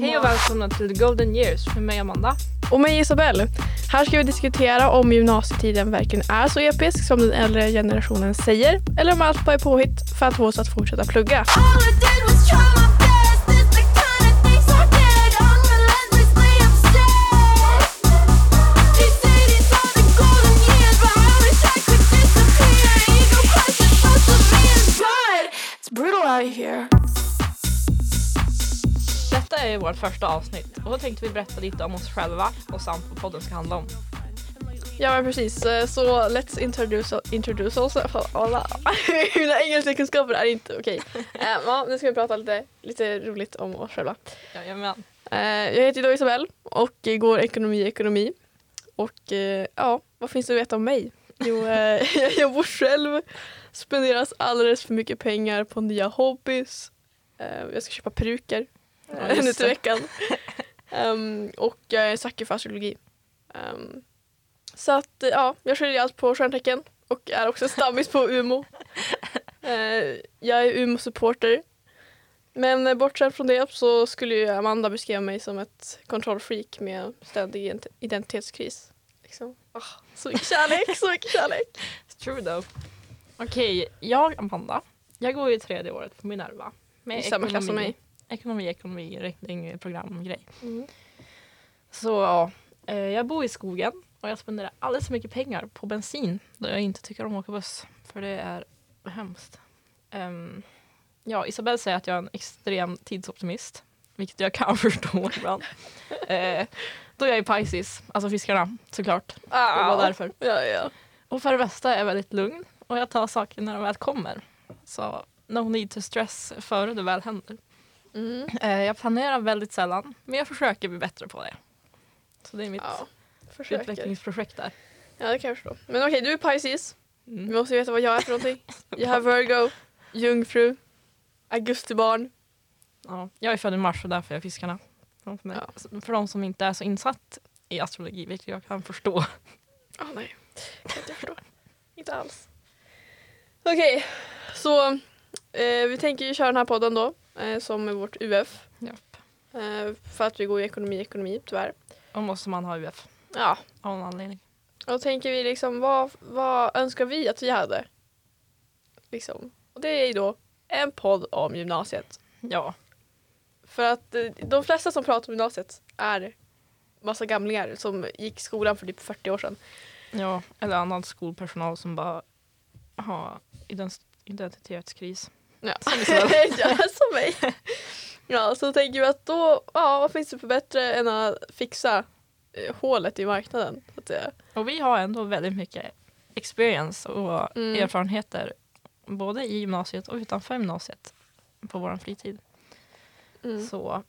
Hej och välkomna till The Golden Years med mig Amanda. Och mig Isabelle. Här ska vi diskutera om gymnasietiden verkligen är så episk som den äldre generationen säger eller om allt bara är påhitt för att få oss att fortsätta plugga. All I did was try my best. It's the kind of things I did. I'm relentlessly obsessed. They say these are the golden years, but I wish I could disappear. Ego crushing, perseverance, but it's brutal out here. Detta är vårt första avsnitt och då tänkte vi berätta lite om oss själva och samt vad podden ska handla om. Ja men precis, Eh, så let's introduce, introduce oss. Alla. Mina engelska kunskaper är inte okej. Eh, ja, nu ska vi prata lite, lite roligt om oss själva. Jajamän. Eh, jag heter då Isabelle och går ekonomi ekonomi. Och eh, ja, vad finns det att veta om mig? Jo, eh, jag bor själv, spenderas alldeles för mycket pengar på nya hobbys. Eh, jag ska köpa peruker Ja, eh, nu just till det. veckan. Ehm, och jag är sucker för astrologi. Ehm, så att eh, ja, jag skiljer allt på stjärntecken och är också stammis på Umo. Eh, jag är Umo-supporter. Men eh, bortsett från det så skulle ju Amanda beskriva mig som ett kontrollfreak med ständig ident- identitetskris. Liksom. Ah, så mycket kärlek, så mycket kärlek. It's true though. Okej, jag Amanda. Jag går ju tredje året på min elva. I samma klass som mig. Ekonomi, ekonomi, riktning, programgrej. Mm. Så ja, eh, jag bor i skogen och jag spenderar alldeles för mycket pengar på bensin då jag inte tycker om att åka buss. För det är hemskt. Ehm, ja, Isabelle säger att jag är en extrem tidsoptimist. Vilket jag kan förstå ibland. Eh, då är jag i Pisces, alltså fiskarna såklart. Det var därför. Ah. Ja, ja. Och för det bästa är jag väldigt lugn och jag tar saker när de väl kommer. Så no need to stress före det väl händer. Mm. Eh, jag planerar väldigt sällan, men jag försöker bli bättre på det. Så det är mitt ja. Försöker. utvecklingsprojekt där. Ja, det kan jag förstå. Men okej, du är Pisces. Vi Mm. måste ju veta vad jag är för någonting. Jag är Virgo, jungfru, augustibarn. Ja, jag är född i mars och därför är jag fiskarna. För mig. För de som inte är så insatt i astrologi, vilket jag kan förstå. Ah nej, jag förstår. inte alls. Okej, så eh, vi tänker ju köra den här podden då, eh, som är vårt UF. Japp. Eh, för att vi går i ekonomi, ekonomi tyvärr. Då måste man ha UF Ja, av någon anledning. och då tänker vi liksom vad, vad önskar vi att vi hade? Liksom. Och det är ju då en podd om gymnasiet. Ja, För att eh, de flesta som pratar om gymnasiet är massa gamlingar som gick skolan för typ 40 år sedan. ja. eller annan skolpersonal som bara har ident- identitetskris. Ja. Isabel. ja, som mig. Ja, så tänker vi att då, ja, vad finns det för bättre än att fixa eh, hålet i marknaden? Så att säga. Och vi har ändå väldigt mycket experience och Mm. erfarenheter både i gymnasiet och utanför gymnasiet på vår fritid. Mm. Så Så,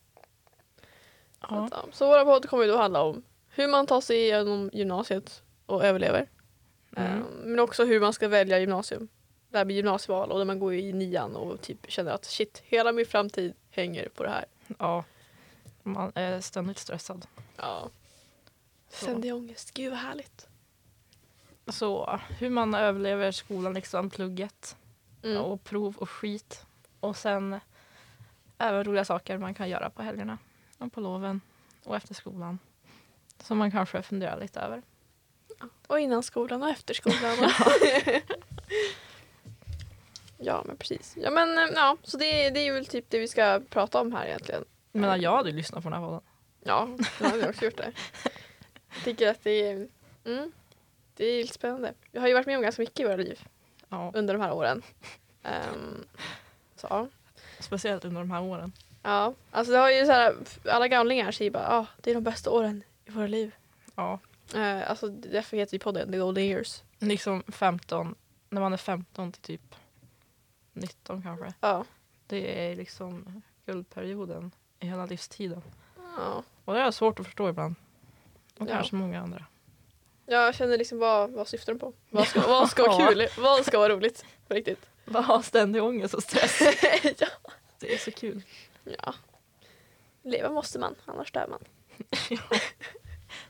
ja, att, ja. så våra podd kommer ju då handla om hur man tar sig igenom gymnasiet och överlever. Mm. Eh, Men också hur man ska välja gymnasium. Det här med gymnasieval och när man går i nian och typ känner att shit, hela min framtid hänger på det här. ja, man är ständigt stressad. Ja. Så. Ständig ångest, gud vad härligt. Så hur man överlever skolan, liksom plugget Mm. och prov och skit. Och sen även roliga saker man kan göra på helgerna och på loven och efter skolan. Som man kanske funderar lite över. Och innan skolan och efter skolan. ja men precis. Ja men eh, ja, så det, det är väl typ det vi ska prata om här egentligen. Jag menar, jag hade ju lyssnat på den här podden. Ja, jag hade också gjort det. Jag tycker att det är, mm, det är lite spännande. Jag har ju varit med om ganska mycket i våra liv Ja, under de här åren. Ehm, så ja. speciellt under de här åren. ja, alltså det har ju så här, alla gamlingar säger bara ah, det är de bästa åren i våra liv. Ja, Uh, alltså därför heter vi podden The Golden Years. liksom 15, när man är 15 till typ 19 kanske. Ja. Det är liksom guldperioden i hela livstiden. ja. Och det är svårt att förstå ibland. Och Ja. kanske många andra. Ja, jag känner liksom vad, vad syftar de på? Vad ska, vad ska vara kul? Vad ska vara roligt? På riktigt. Bara ha ständig ångest och stress. ja. Det är så kul. ja. Leva måste man, annars dör man.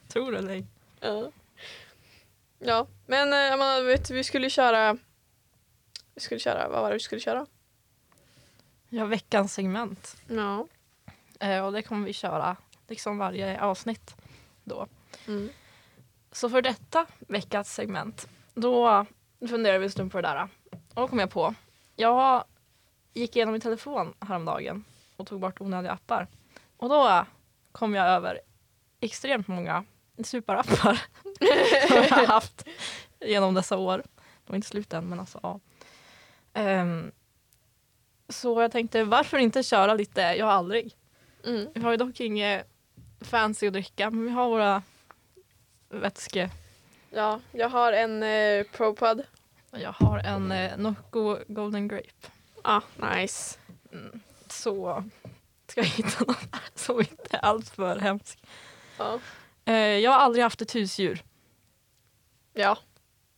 Tror du eller ej. Ja, ja. men eh, jag menar, vet, du, vi skulle köra... Vi skulle köra, vad var det vi skulle köra? Ja, veckans segment. Ja. Eh, och det kommer vi köra liksom varje avsnitt då. Mm. Så för detta veckans segment, då funderade vi en stund på det där. Och då kom jag på, jag gick igenom min telefon häromdagen och tog bort onödiga appar. Och då kom jag över extremt många superappar som jag har haft genom dessa år. De är inte slut än, men alltså ja. Ehm, så jag tänkte, varför inte köra lite Jag har aldrig? Mm. Vi har ju dock inget fancy att dricka, men vi har våra vätske. Ja, jag har en eh, ProPod. Jag har en eh, Nocco Golden Grape. Ah, nice. Så ska jag hitta någon som inte är alltför hemsk. Ja. Eh, jag har aldrig haft ett husdjur. Ja.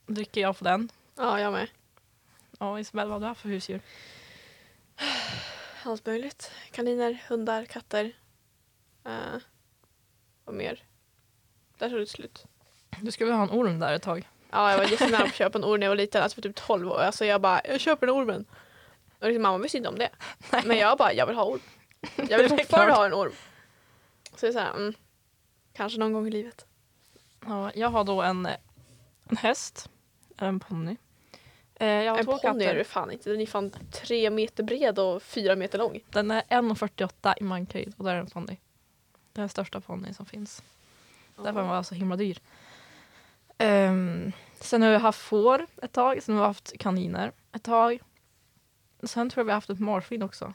Dricker jag på den. ja, jag med. Ja, Isabel, vad har du haft för husdjur? Allt möjligt. Kaniner, hundar, katter. Eh, vad mer? Där tog det slut. Du skulle väl ha en orm där ett tag? Ja, jag var jättenära på att köpa en orm när jag var liten, alltså för typ 12 år. Alltså jag bara, jag köper den ormen. Och liksom, mamma visste inte om det. Men jag bara, jag vill ha orm. Jag Det är vill fortfarande klart. ha en orm. Så det är såhär, mm, kanske någon gång i livet. Ja, jag har då en, eh, en häst. Eller en ponny. Eh, jag har En två ponny är katter. det fan inte, den är fan tre meter bred och fyra meter lång. Den är 1,48 i mankhöjd och där är en ponny. Det är den största ponny som finns. Därför var den så himla dyr. Ehm, sen har vi haft får ett tag, sen har vi haft kaniner ett tag. Sen tror jag vi har haft ett marsvin också.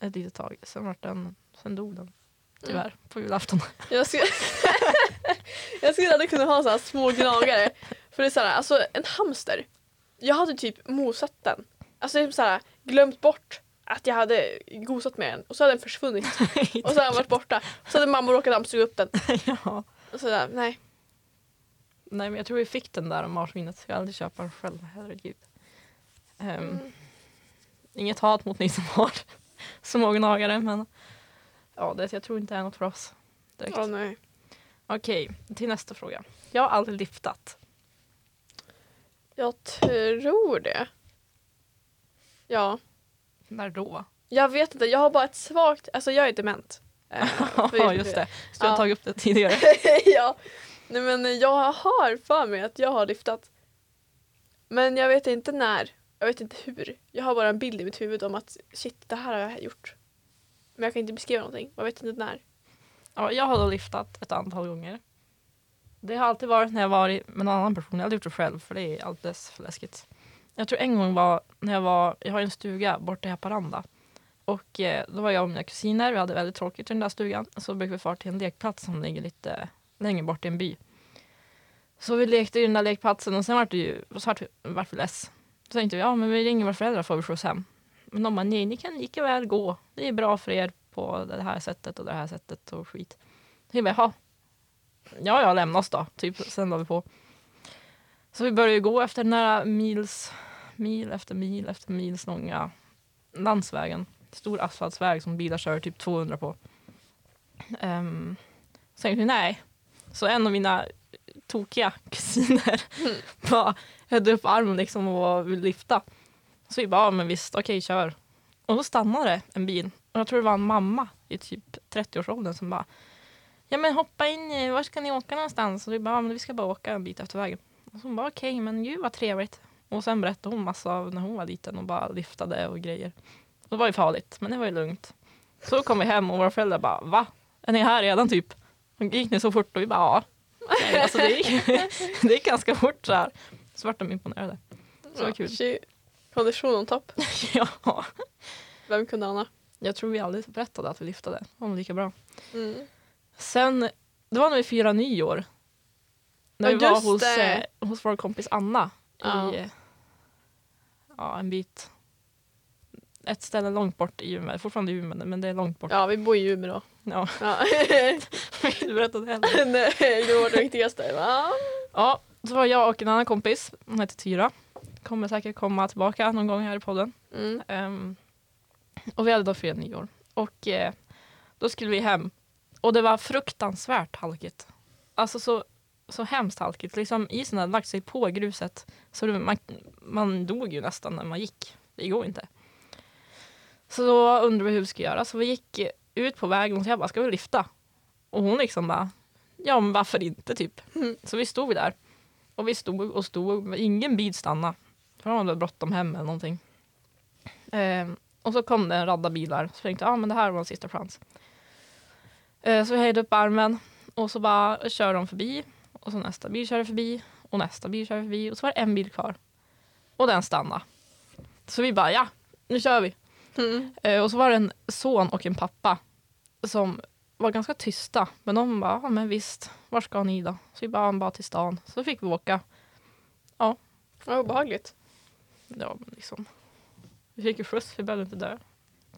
Ett litet tag. Sen, var den, sen dog den. Tyvärr, Mm. på julafton. Jag skulle, jag skulle aldrig kunna ha så här små gnagare. För det är så här, alltså en hamster. Jag hade typ mosat den. Alltså typ så här, glömt bort att jag hade gosat med den. Och så hade den försvunnit. Och så hade den varit borta. Så hade mamma råkat dammsuga upp den. ja. Och så där, nej. Nej men jag tror vi fick den där marsvinet. Jag har aldrig köpt den själv, herregud. Um, Mm. Inget hat mot ni som har smågnagare men ja, det, jag tror inte det är något för oss. Direkt. Åh nej. Okej, till nästa fråga. Jag har aldrig liftat. Jag tror det. Ja. När då? Jag vet inte, jag har bara ett svagt, alltså jag är dement. Eh, Ja, just det. Så jag har Ja. tagit upp det tidigare. ja. Nej men jag har för mig att jag har lyftat. Men jag vet inte när. Jag vet inte hur. Jag har bara en bild i mitt huvud om att shit, det här har jag gjort. Men jag kan inte beskriva någonting. Jag vet inte när. Ja, jag har då liftat ett antal gånger. Det har alltid varit när jag varit med någon annan person. Jag har aldrig gjort det själv för det är alldeles för läskigt. Jag tror en gång var när jag var, jag har ju en stuga borta i Haparanda. Och eh, då var jag och mina kusiner, vi hade väldigt tråkigt i den där stugan. Så brukade vi fara till en lekplats som ligger lite längre bort i en by. Så vi lekte i den där lekplatsen och sen vart det ju, så vart vi, vart vi less. Så tänkte vi, ja men vi ringer våra föräldrar får vi skjuts hem. Men de bara, nej ni kan lika väl gå. Det är bra för er på det här sättet och det här sättet och skit. Så jag bara, jaha. Ja, ja, lämna oss då. Typ, sen la vi på. Så vi började ju gå efter den här mils, mil efter mil efter mils långa landsvägen. Stor asfaltsväg som bilar kör typ 200 på. Um, så tänkte vi nej. Så en av mina tokiga kusiner bara höll upp armen liksom och ville lyfta. Så vi bara, ja, men visst, okej, kör. Och då stannade en bil. Och jag tror det var en mamma i typ 30-årsåldern som bara Ja men hoppa in, i- var ska ni åka någonstans? Och vi bara, ja, men vi ska bara åka en bit efter vägen. Och så hon bara, okej men ju vad trevligt. Och sen berättade hon massa av när hon var liten och bara lyftade och grejer. Och det var ju farligt, men det var ju lugnt. Så kom vi hem och våra föräldrar bara, va? Är ni här redan typ? Och gick ni så fort? Och vi bara, ja. Nej, alltså det gick, det gick ganska fort så här. Så vart de imponerade. Så Ja, kul. tji. Kondition on topp. Ja. Vem kunde ana? Jag tror vi aldrig berättade att vi lyftade. Det var nog lika bra. Mm. Sen, det var när vi firade nyår. När Ja, vi var just hos, det. eh, hos vår kompis Anna. Ja. I eh, ja, en bit. Ett ställe långt bort i Umeå. Fortfarande i Umeå, men det är långt bort. Ja. Ja, vi bor i Umeå. Ja. Vill du berätta det heller? nej, det var det viktigaste. Va? Ja, så var jag och en annan kompis. Hon heter Tyra. Kommer säkert komma tillbaka någon gång här i podden. Mm. Ehm, och vi hade då firat nyår. Och eh, då skulle vi hem. Och det var fruktansvärt halkigt. Alltså så, så hemskt halkigt. Liksom isen hade lagt sig på gruset. Så det, man, man dog ju nästan när man gick. Det går inte. Så då undrade vi hur vi skulle göra. Så vi gick ut på vägen så jag bara, ska vi lyfta? Och hon liksom bara, ja men varför inte typ. Mm. Så vi stod där. Och vi stod och stod, men ingen bil stannade. För de hade bråttom hem eller någonting. Ehm, och så kom det en radda bilar. Så jag tänkte, ja ah, men det här var en sista chans. Eh, så vi höjde upp armen och så bara kör de förbi. Och så nästa bil körde förbi. Och nästa bil körde förbi. Och så var det en bil kvar. Och den stannade. Så vi bara, ja nu kör vi. Mm. Eh, Och så var det en son och en pappa som var ganska tysta. Men de bara, ja men visst, var ska ni då? Så vi bara, "Ja, bara till stan. Så fick vi åka. Vad obehagligt. Ja, men liksom. Vi fick ju skjuts, vi behövde inte dö.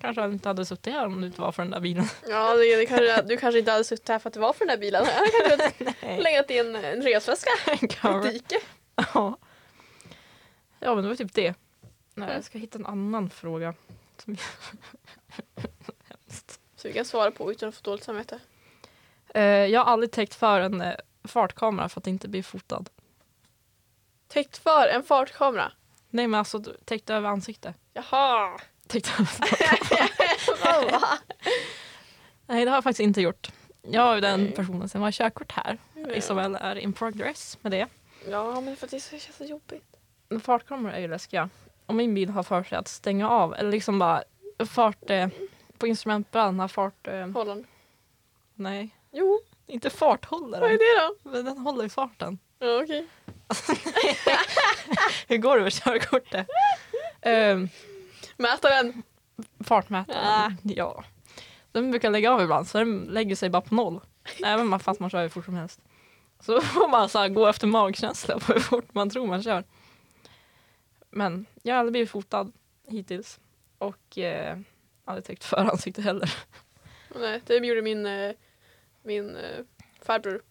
Kanske han inte hade suttit här om det inte var för den där bilen. Ja, det, det kanske, du kanske inte hade suttit här för att det var för den där bilen. Jag hade kanske legat i en, en resväska. Ett Kanske. dike. ja. ja, men det var typ det. Nej, jag ska hitta en annan fråga. Som... Hemskt. Så vi kan svara på utan att få dåligt samvete. Eh, jag har aldrig täckt för en eh, fartkamera för att inte bli fotad. Täckt för en fartkamera. Nej, men alltså täckt över ansiktet. Jaha. Tyckte han Nej, det har jag faktiskt inte gjort. Jag är den Nej. personen som har körkort här. Ja. Isabel är in progress med det. Ja, men för att det ska kännas så jobbigt. Men Fartkameror är ju läskiga. Och min bil har för sig att stänga av, eller liksom bara fart... Eh, på instrumentbrädan har fart... Eh, Hålland. nej, Jo, inte farthållaren. vad är det då? Men den håller i farten. Ja, okej. Hur går det med körkortet? Ehm, Mäta den. fartmätaren, Ah. ja. Den brukar lägga av ibland så den lägger sig bara på noll. Även fast man kör hur fort som helst. Så får man så här gå efter magkänsla på hur fort man tror man kör. Men jag har aldrig blivit fotad hittills. Och eh, aldrig täckt föransikte heller. Nej, det gjorde min, eh, min eh, farbror.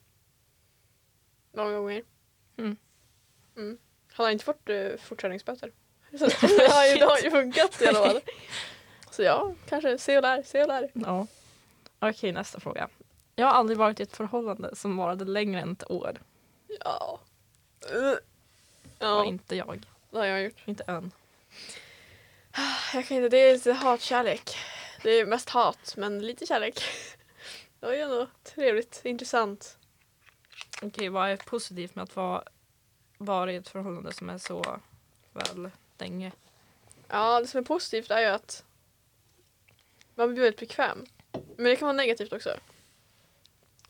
Många gånger. Mm. Mm. Han har inte fått eh, fortkörningsböter. Så det har ju, det har ju funkat i alla fall. Så ja, kanske se och lär, se och lär. Ja. Okej, nästa fråga. Jag har aldrig varit i ett förhållande som varade längre än ett år. Ja. Uh. Det var Ja, inte jag. det har jag gjort. Inte än. Jag kan inte, det är lite hatkärlek. Det är mest hat, men lite kärlek. Det var ju ändå trevligt, intressant. Okej, vad är positivt med att vara, vara i ett förhållande som är så väl länge? Ja, det som är positivt är ju att man blir väldigt bekväm. Men det kan vara negativt också.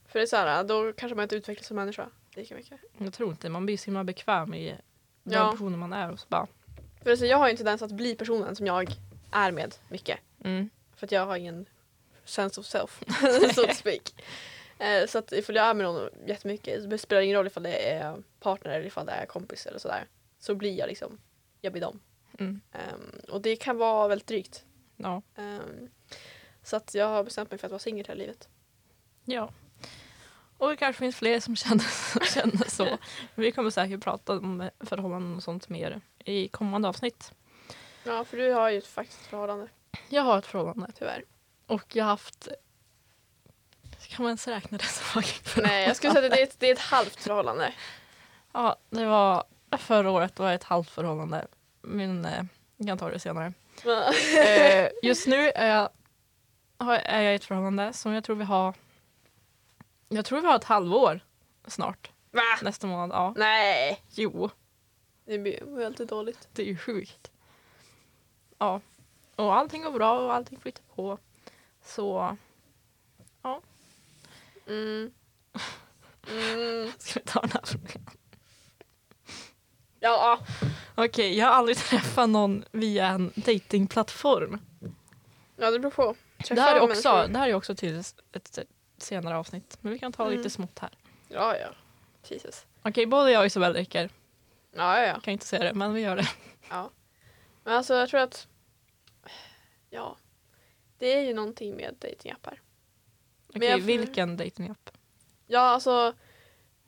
För det är så här, då kanske man inte utvecklas som människa lika mycket. Jag tror inte Man blir så himla bekväm i den Ja. personen man är. Och så bara, För alltså, jag har ju en tendens att bli personen som jag är med mycket. mm, För att jag har ingen sense of self, so to speak. Eh, Så att ifall jag är med någon jättemycket så spelar det ingen roll ifall det är partner eller ifall det är kompis eller sådär. Så blir jag liksom, jag blir dem. mm, Ehm, och det kan vara väldigt drygt. ja. Ehm, så att jag har bestämt mig för att vara singel hela livet. ja. Och det kanske finns fler som känner, som känner så. Vi kommer säkert prata om förhållanden och sånt mer i kommande avsnitt. Ja, för du har ju ett faktiskt förhållande, Jag har ett förhållande tyvärr. och jag har haft... Kan man ens räkna det som ett Nej, jag skulle säga att det är ett, det är ett halvt förhållande. Ja, det var förra året. var det ett halvt förhållande. Men eh, jag kan ta det senare. Men- Eh, just nu är jag, har- är jag i ett förhållande som jag tror vi har Jag tror vi har ett halvår snart. Va? Nästa månad, ja. Nej! Jo, Det blir ju alltid dåligt. det är ju sjukt. Ja. Och allting går bra och allting flyter på. Så Mm. Mm. ska vi ta den här frågan. Ja, Okej, jag har aldrig träffat någon via en datingplattform. ja, det beror på. Det här, är Träffar också, människor. det här är också till ett senare avsnitt. Men vi kan ta Mm. lite smått här. Ja, ja. Jesus. Okej, både jag och Isabelle dricker. Ja, ja, ja. Kan inte säga det, men vi gör det. ja. Men alltså jag tror att... Ja. Det är ju någonting med datingappar. Men Okej, jag- vilken datingapp? Ja, alltså.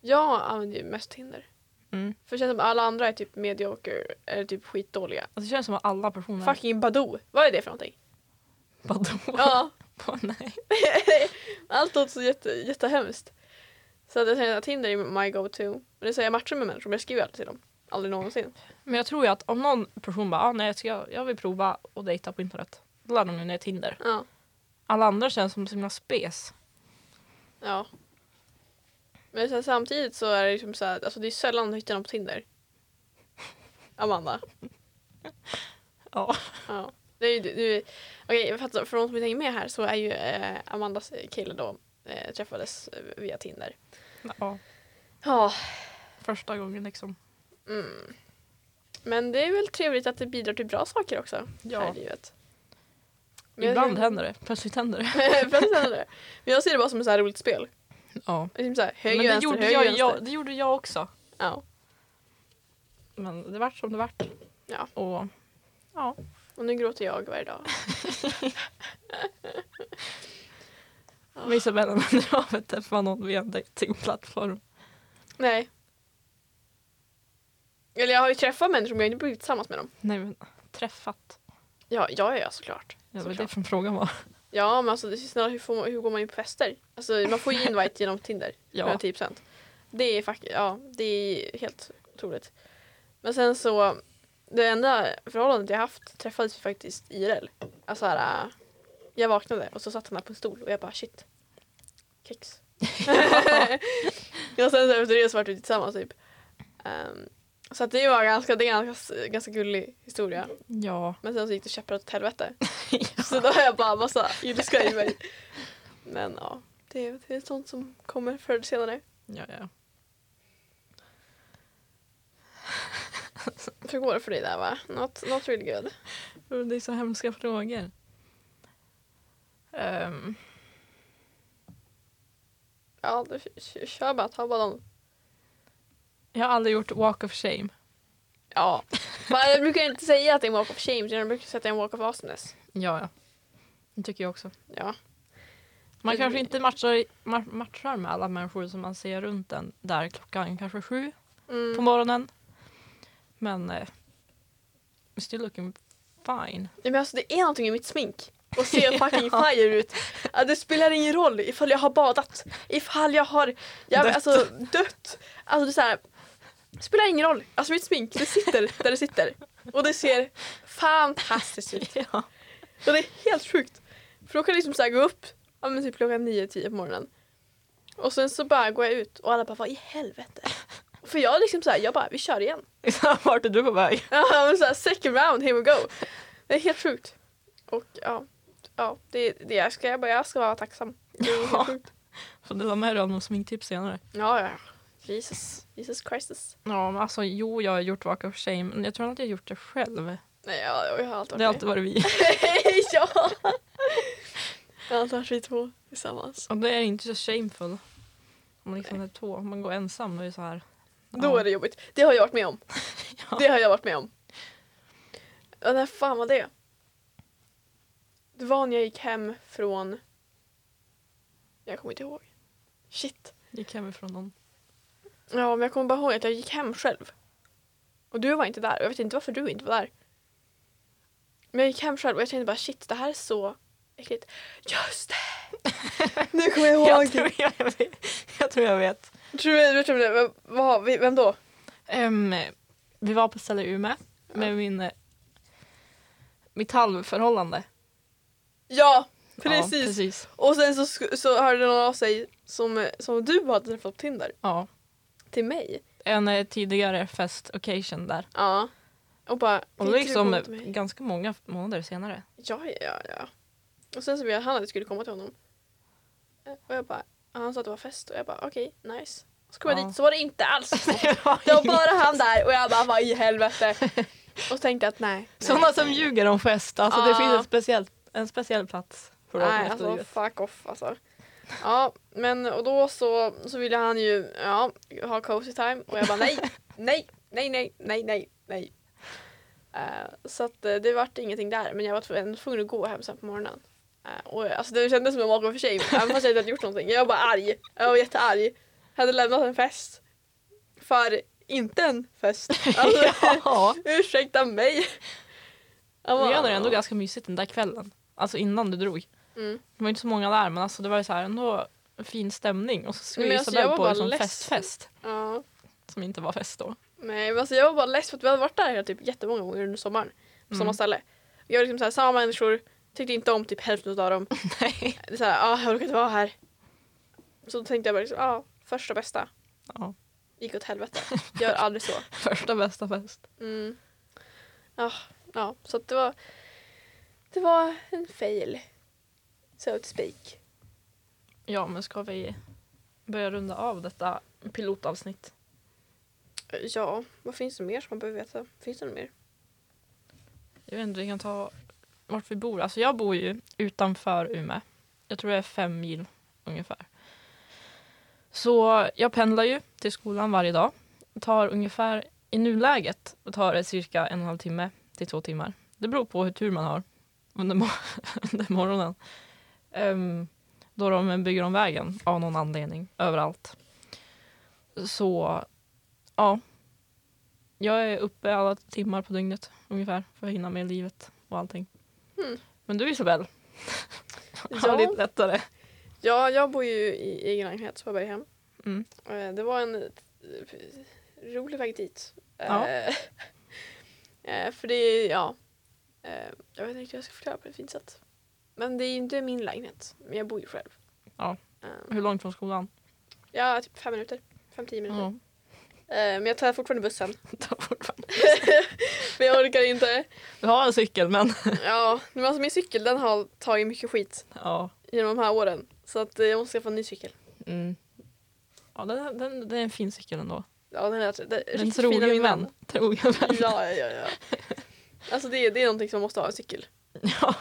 Jag använder ju mest Tinder. Mm. För det känns som alla andra är typ medioker eller typ skitdåliga. Alltså, det känns som att alla personer... Fucking Badoo. Vad är det för någonting? Vadå? Ja. Åh, nej. Allt låter så jätte, jättehemskt. Så att jag säger att Tinder är my go-to. Men det säger jag matchar med människor men jag skriver aldrig till dem. Aldrig någonsin. Men jag tror ju att om någon person bara ah, nej, jag, ska, jag vill prova att dejta på internet. Då laddar de ju ner Tinder. Ja. Alla andra känns som så himla spes. Ja. Men så här, samtidigt så är det liksom så här, alltså det är sällan du hittar någon på Tinder. Amanda. Ja. Ja. Det är ju, du, okej, jag fattar, för de som inte hänger med här så är ju eh, Amandas kille då eh, träffades eh, via Tinder. ja. Ja. Första gången liksom. Mm. Men det är väl trevligt att det bidrar till bra saker också Ja. här i livet. Men jag Ibland ser- händer det. Plötsligt händer det. Plötsligt händer det. Men jag ser det bara som ett så här roligt spel. Ja. Liksom så här, höger, Men det vänster, gjorde, höger, jag, vänster. jag, det gjorde jag också. Ja. Men det vart som det vart. Ja. Och ja. Och nu gråter jag varje dag. Men Isabella nämnde av att träffa någon via en datingplattform. Nej. Eller jag har ju träffat människor men jag har inte blivit tillsammans med dem. Nej men träffat. Ja, ja, ja såklart. Ja, det var det såklart. som frågan var. Ja, men alltså det är snarare hur, får man, hur går man in på fester? Alltså man får ju invite genom Tinder. Ja. Ja. 10%. typ Det är faktiskt, ja det är helt otroligt. Men sen så, det enda förhållandet jag haft träffades vi faktiskt IRL. Alltså här, äh, jag vaknade och så satt han här på en stol och jag bara shit, kex. och sen så efter det så vart vi tillsammans typ. Ehm, så att det var ganska, det är en ganska, ganska gullig historia. Ja. Men sen så gick det käpprätt åt helvete. Så då har jag bara massa ilska i mig. Men ja, det är, det är sånt som kommer förr eller senare. Ja, ja. Hur går det för dig där va? Not, not really good. Men Det är så hemska frågor. Ehm, Ja, du, k- kör bara, ta bara dem. jag har aldrig gjort walk of shame. Ja. Men jag brukar inte säga att det är en walk of shame, utan jag brukar säga att det är en walk of awesomeness. Ja, ja. Det tycker jag också. Ja. Man Det- kanske inte matchar, ma- matchar med alla människor som man ser runt en där klockan kanske sju på Mm. morgonen. Men eh, still looking fine. Nej, Men alltså det är någonting i mitt smink. Och ser fucking fire ut. Ja, Det spelar ingen roll ifall jag har badat, ifall jag har jag, Dött. dött. Alltså, dött. Alltså det är så här, det spelar ingen roll. Alltså mitt smink, det sitter där det sitter. Och det ser fantastiskt ut. Ja. Och det är helt sjukt. För då kan jag liksom så här gå upp ja, men typ klockan 9-10 på morgonen. Och sen så bara går jag ut och alla bara vad i helvete. För jag är liksom så här, jag bara vi kör igen. Vart är du på väg? Ja men så här, second round, here we go. Det är helt sjukt. Och ja, ja det, det jag, ska, jag, bara, jag ska vara tacksam. Det är Ja. helt sjukt. Får dela med dig av några sminktips senare. Ja, ja. Jesus, Jesus Christus. Ja, men alltså jo, jag har gjort walk of shame. Men jag tror inte jag har gjort det själv. Nej, jag, jag har alltid Det har varit alltid varit vi. med. ja. Jag har alltid varit vi två tillsammans. Och det är inte så shameful. Om man liksom är två, om man går ensam då är det så här. Då är det jobbigt. Det har jag varit med om. Ja. Det har jag varit med om. Ja, när fan var det? Det var när jag gick hem från... Jag kommer inte ihåg. Shit. Gick hemifrån någon. Ja, men jag kommer bara ihåg att jag gick hem själv. Och du var inte där. Jag vet inte varför du inte var där. Men jag gick hem själv och jag tänkte bara shit, det här är så äckligt. Just det! nu kommer jag ihåg. Jag tror jag, vet. Jag tror jag vet. Tror du, du tror det? Vem, vad, vi- vem då? Ehm, vi var på ställe Umeå med min, eh, mitt halvförhållande. Ja, Ja, precis. precis. Och sen så, sk- så hörde någon av sig som, som du hade träffat på Tinder Ja. till mig. En eh, tidigare fest occasion där. Ja. Och bara... Och "Vill det inte var du liksom komma eh, till mig?" ganska många månader senare. Ja, ja, ja, ja. Och sen så ville han att jag skulle komma till honom. Eh, Och jag bara, och han sa att det var fest och jag bara okej, nice. Och så kom Ja. jag dit så var det inte alls. Det var Det var ingen- bara han där och jag bara vad i helvete. Och så tänkte jag att nej. Sådana som ljuger om fest. Alltså det Ja. finns ett speciellt, en speciell plats för dem Ah. Nej, i alltså livet. fuck off alltså. Ja, men och då så, så ville han ju ja, ha cozy time och jag bara nej, nej, nej, nej, nej, nej, nej. Eh, så att eh, det vart ingenting där men jag var tv- ändå tvungen att gå hem sen på morgonen. Eh, och, alltså det kändes som en walk of shame även fast jag inte hade gjort någonting. Jag var bara arg. Jag var jättearg. Jag hade lämnat en fest. För inte en fest. Alltså, ja. Ursäkta mig. Jag bara, Vi hade det ändå ja. ganska mysigt den där kvällen. Alltså innan du drog. Mm. Det var inte så många där men alltså det var ju så här ändå fin stämning. Och så skulle Men Isabelle alltså, jag Isabel var på bara liksom ledsen. festfest. Ja. Som inte var fest då. Nej men alltså jag var bara less för att vi hade varit där typ jättemånga gånger under sommaren. På Mm. samma ställe. Vi var liksom så här, samma människor, Tyckte inte om typ hälften av dem. Nej. Det är såhär, ah, jag orkar inte vara här. Så då tänkte jag bara liksom, ah, första bästa. Ja. Gick åt helvete. Gör aldrig så. Första bästa fest. Mm. Ja, ja, så att det var det var en fail. So to speak. Ja, men ska vi börja runda av detta pilotavsnitt? Ja, vad finns det mer som man behöver veta? Finns det något mer? Jag vet inte, vi kan ta vart vi bor. Alltså jag bor ju utanför Umeå. Jag tror det är fem mil ungefär. Så jag pendlar ju till skolan varje dag. Det tar ungefär, i nuläget, tar det cirka en och en halv timme till två timmar. Det beror på hur tur man har under, mor- under morgonen. Ehm, då de bygger om vägen av någon anledning överallt. Så, ja. Jag är uppe alla timmar på dygnet ungefär för att hinna med livet och allting. Mm. Men du Isabel, har Ja. det lite lättare. Ja, jag bor ju i egen lägenhet på Berghem. Mm. Eh, Det var en eh, rolig väg dit. Ja. Eh, eh, För det är, ja. eh, Jag vet inte riktigt hur jag ska förklara på ett fint sätt. Men det är ju inte min lägenhet. Men jag bor ju själv. Ja. Eh, Hur långt från skolan? Ja, typ fem minuter. Fem, tio minuter. Ja. Eh, Men jag tar fortfarande bussen. Mm. Ta bort den. Men jag orkar inte. Du har en cykel men Ja, men alltså min cykel den har tagit mycket skit ja. genom de här åren. Så att eh, jag måste skaffa en ny cykel. Mm. Ja, den, den, den är en fin cykel ändå. Ja, den är, den är En riktigt fin av trogen min vän. Trogen vän. Ja, ja, ja. ja. Alltså det, är- det är någonting som man måste ha, en cykel. Ja.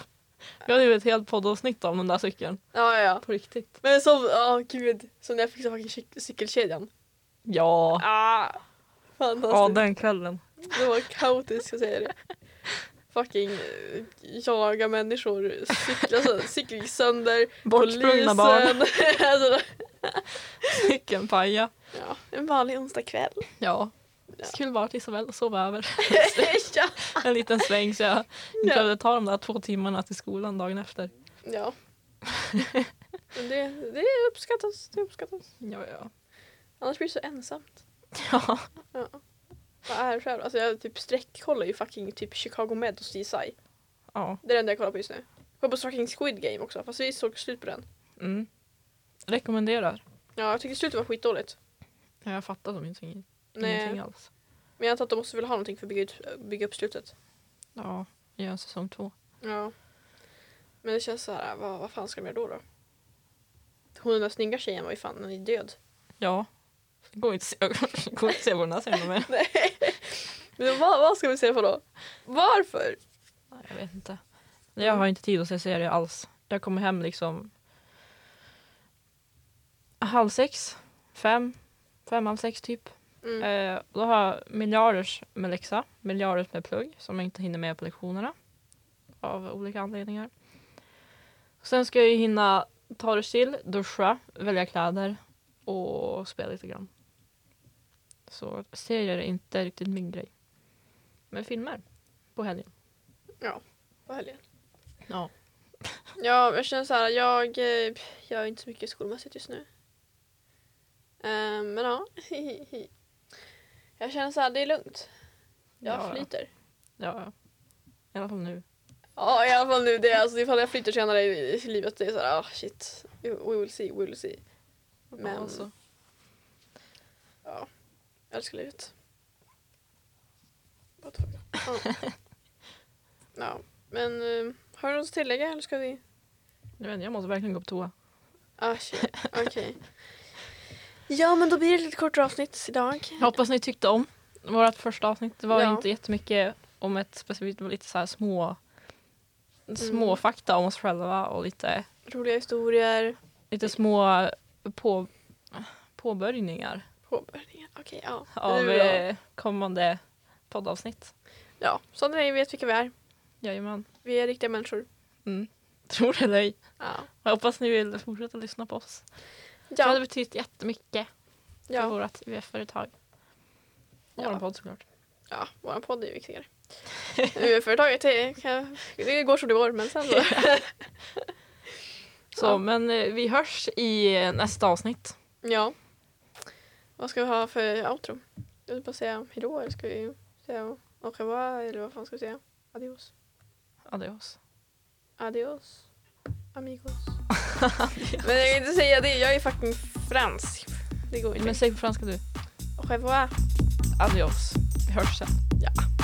Vi hade ju ett helt poddavsnitt om den där cykeln. Ja, ja, ja. På riktigt. Men som, ja gud, som när jag fixade fucking cyk- cykelkedjan. Ja. Ah, Ja, fantastiskt. den kvällen. Det var kaotiskt, jag säger det. Fucking eh, jaga människor, cykla, alltså, cykeln gick sönder, Bortsprungna barn. alltså, Cykeln paja. ja, en vanlig onsdagkväll. Ja. Ja. Skulle bara till Isabel och sova över ja. en liten sväng så jag inte Ja. behövde ta de där två timmarna till skolan dagen efter. Ja. Men det, det uppskattas, det uppskattas. Ja, ja. Annars blir det så ensamt. ja. Ja. Vad är det själv? Alltså jag typ streckkollar ju fucking typ Chicago Med och CSI. ja. Det är det enda jag kollar på just nu. Jag kollar på fucking Squid Game också fast vi såg slut på den. Mm. Rekommenderar. Ja jag tyckte slutet var skitdåligt. Ja, Jag fattar som ingenting, ingenting Nej. alls. Men jag antar att de måste väl ha någonting för att bygga, ut, bygga upp slutet. Ja, gör en säsong två. Ja. Men det känns så här, vad, vad fan ska de göra då då? Hon den där snygga tjejen var ju fan, hon är död. Ja. Det går inte att se- går inte att se på den här scenen mer. Nej. Men vad, vad ska vi se på då? Varför? Nej, Jag vet inte. Jag har inte tid att se serier alls. Jag kommer hem liksom halv sex, fem, fem, halv sex typ. Mm. Eh, och då har jag miljarders med läxa, miljarders med plugg som jag inte hinner med på lektionerna av olika anledningar. Sen ska jag ju hinna ta det till, duscha, välja kläder och spela lite grann. Så serier är inte riktigt min grej. Men filmer på helgen. på helgen. Ja. Ja, jag känner så här, jag eh, gör inte så mycket skolmässigt just nu. Eh, men ja, Jag känner så här, det är lugnt. Jag Ja, ja. flyter. Ja, ja. I alla fall nu. Ja, i alla fall nu. Det är, alltså, ifall jag flyter senare i, i livet, det är så här, ah shit. We will see, we will see. Men- Ja, alltså. Ja, jag älskar livet. What the fuck? Ja. ja, men eh, har du något att tillägga eller ska vi? Jag, vet, inte, jag måste verkligen gå på toa. Ah, shit. Okej. Ja, men då blir det lite kortare avsnitt idag. Jag hoppas ni tyckte om vårt första avsnitt. Det var Ja. inte jättemycket om ett specifikt, det var lite så här små, Mm. små fakta om oss själva och lite, Roliga historier. lite små på, påbörjningar Påbörjningar. Okej, ja. Det av blir bra. eh, kommande poddavsnitt. Ja, så ni vet vilka vi är. Jajamän. Vi är riktiga människor. Mm. Tror det eller ej. Ja. Jag hoppas ni vill fortsätta lyssna på oss. Det hade Ja. betytt jättemycket för Ja. vårt UF-företag. Och Ja. vår podd såklart. ja, vår podd är ju viktigare. Nu är Företaget, det, kan, det går som det går, men sen så. Så, Ja. men eh, vi hörs i eh, nästa avsnitt. Ja. Vad ska vi ha för outro? Jag vill bara säga hejdå eller ska vi säga au revoir eller vad fan ska vi säga? Adios. Adios. Adios. Amigos. Men jag kan inte säga det, jag är fucking fransk. Det går inte. Men säg på franska du. Au revoir. Adios. Vi hörs sen. Ja.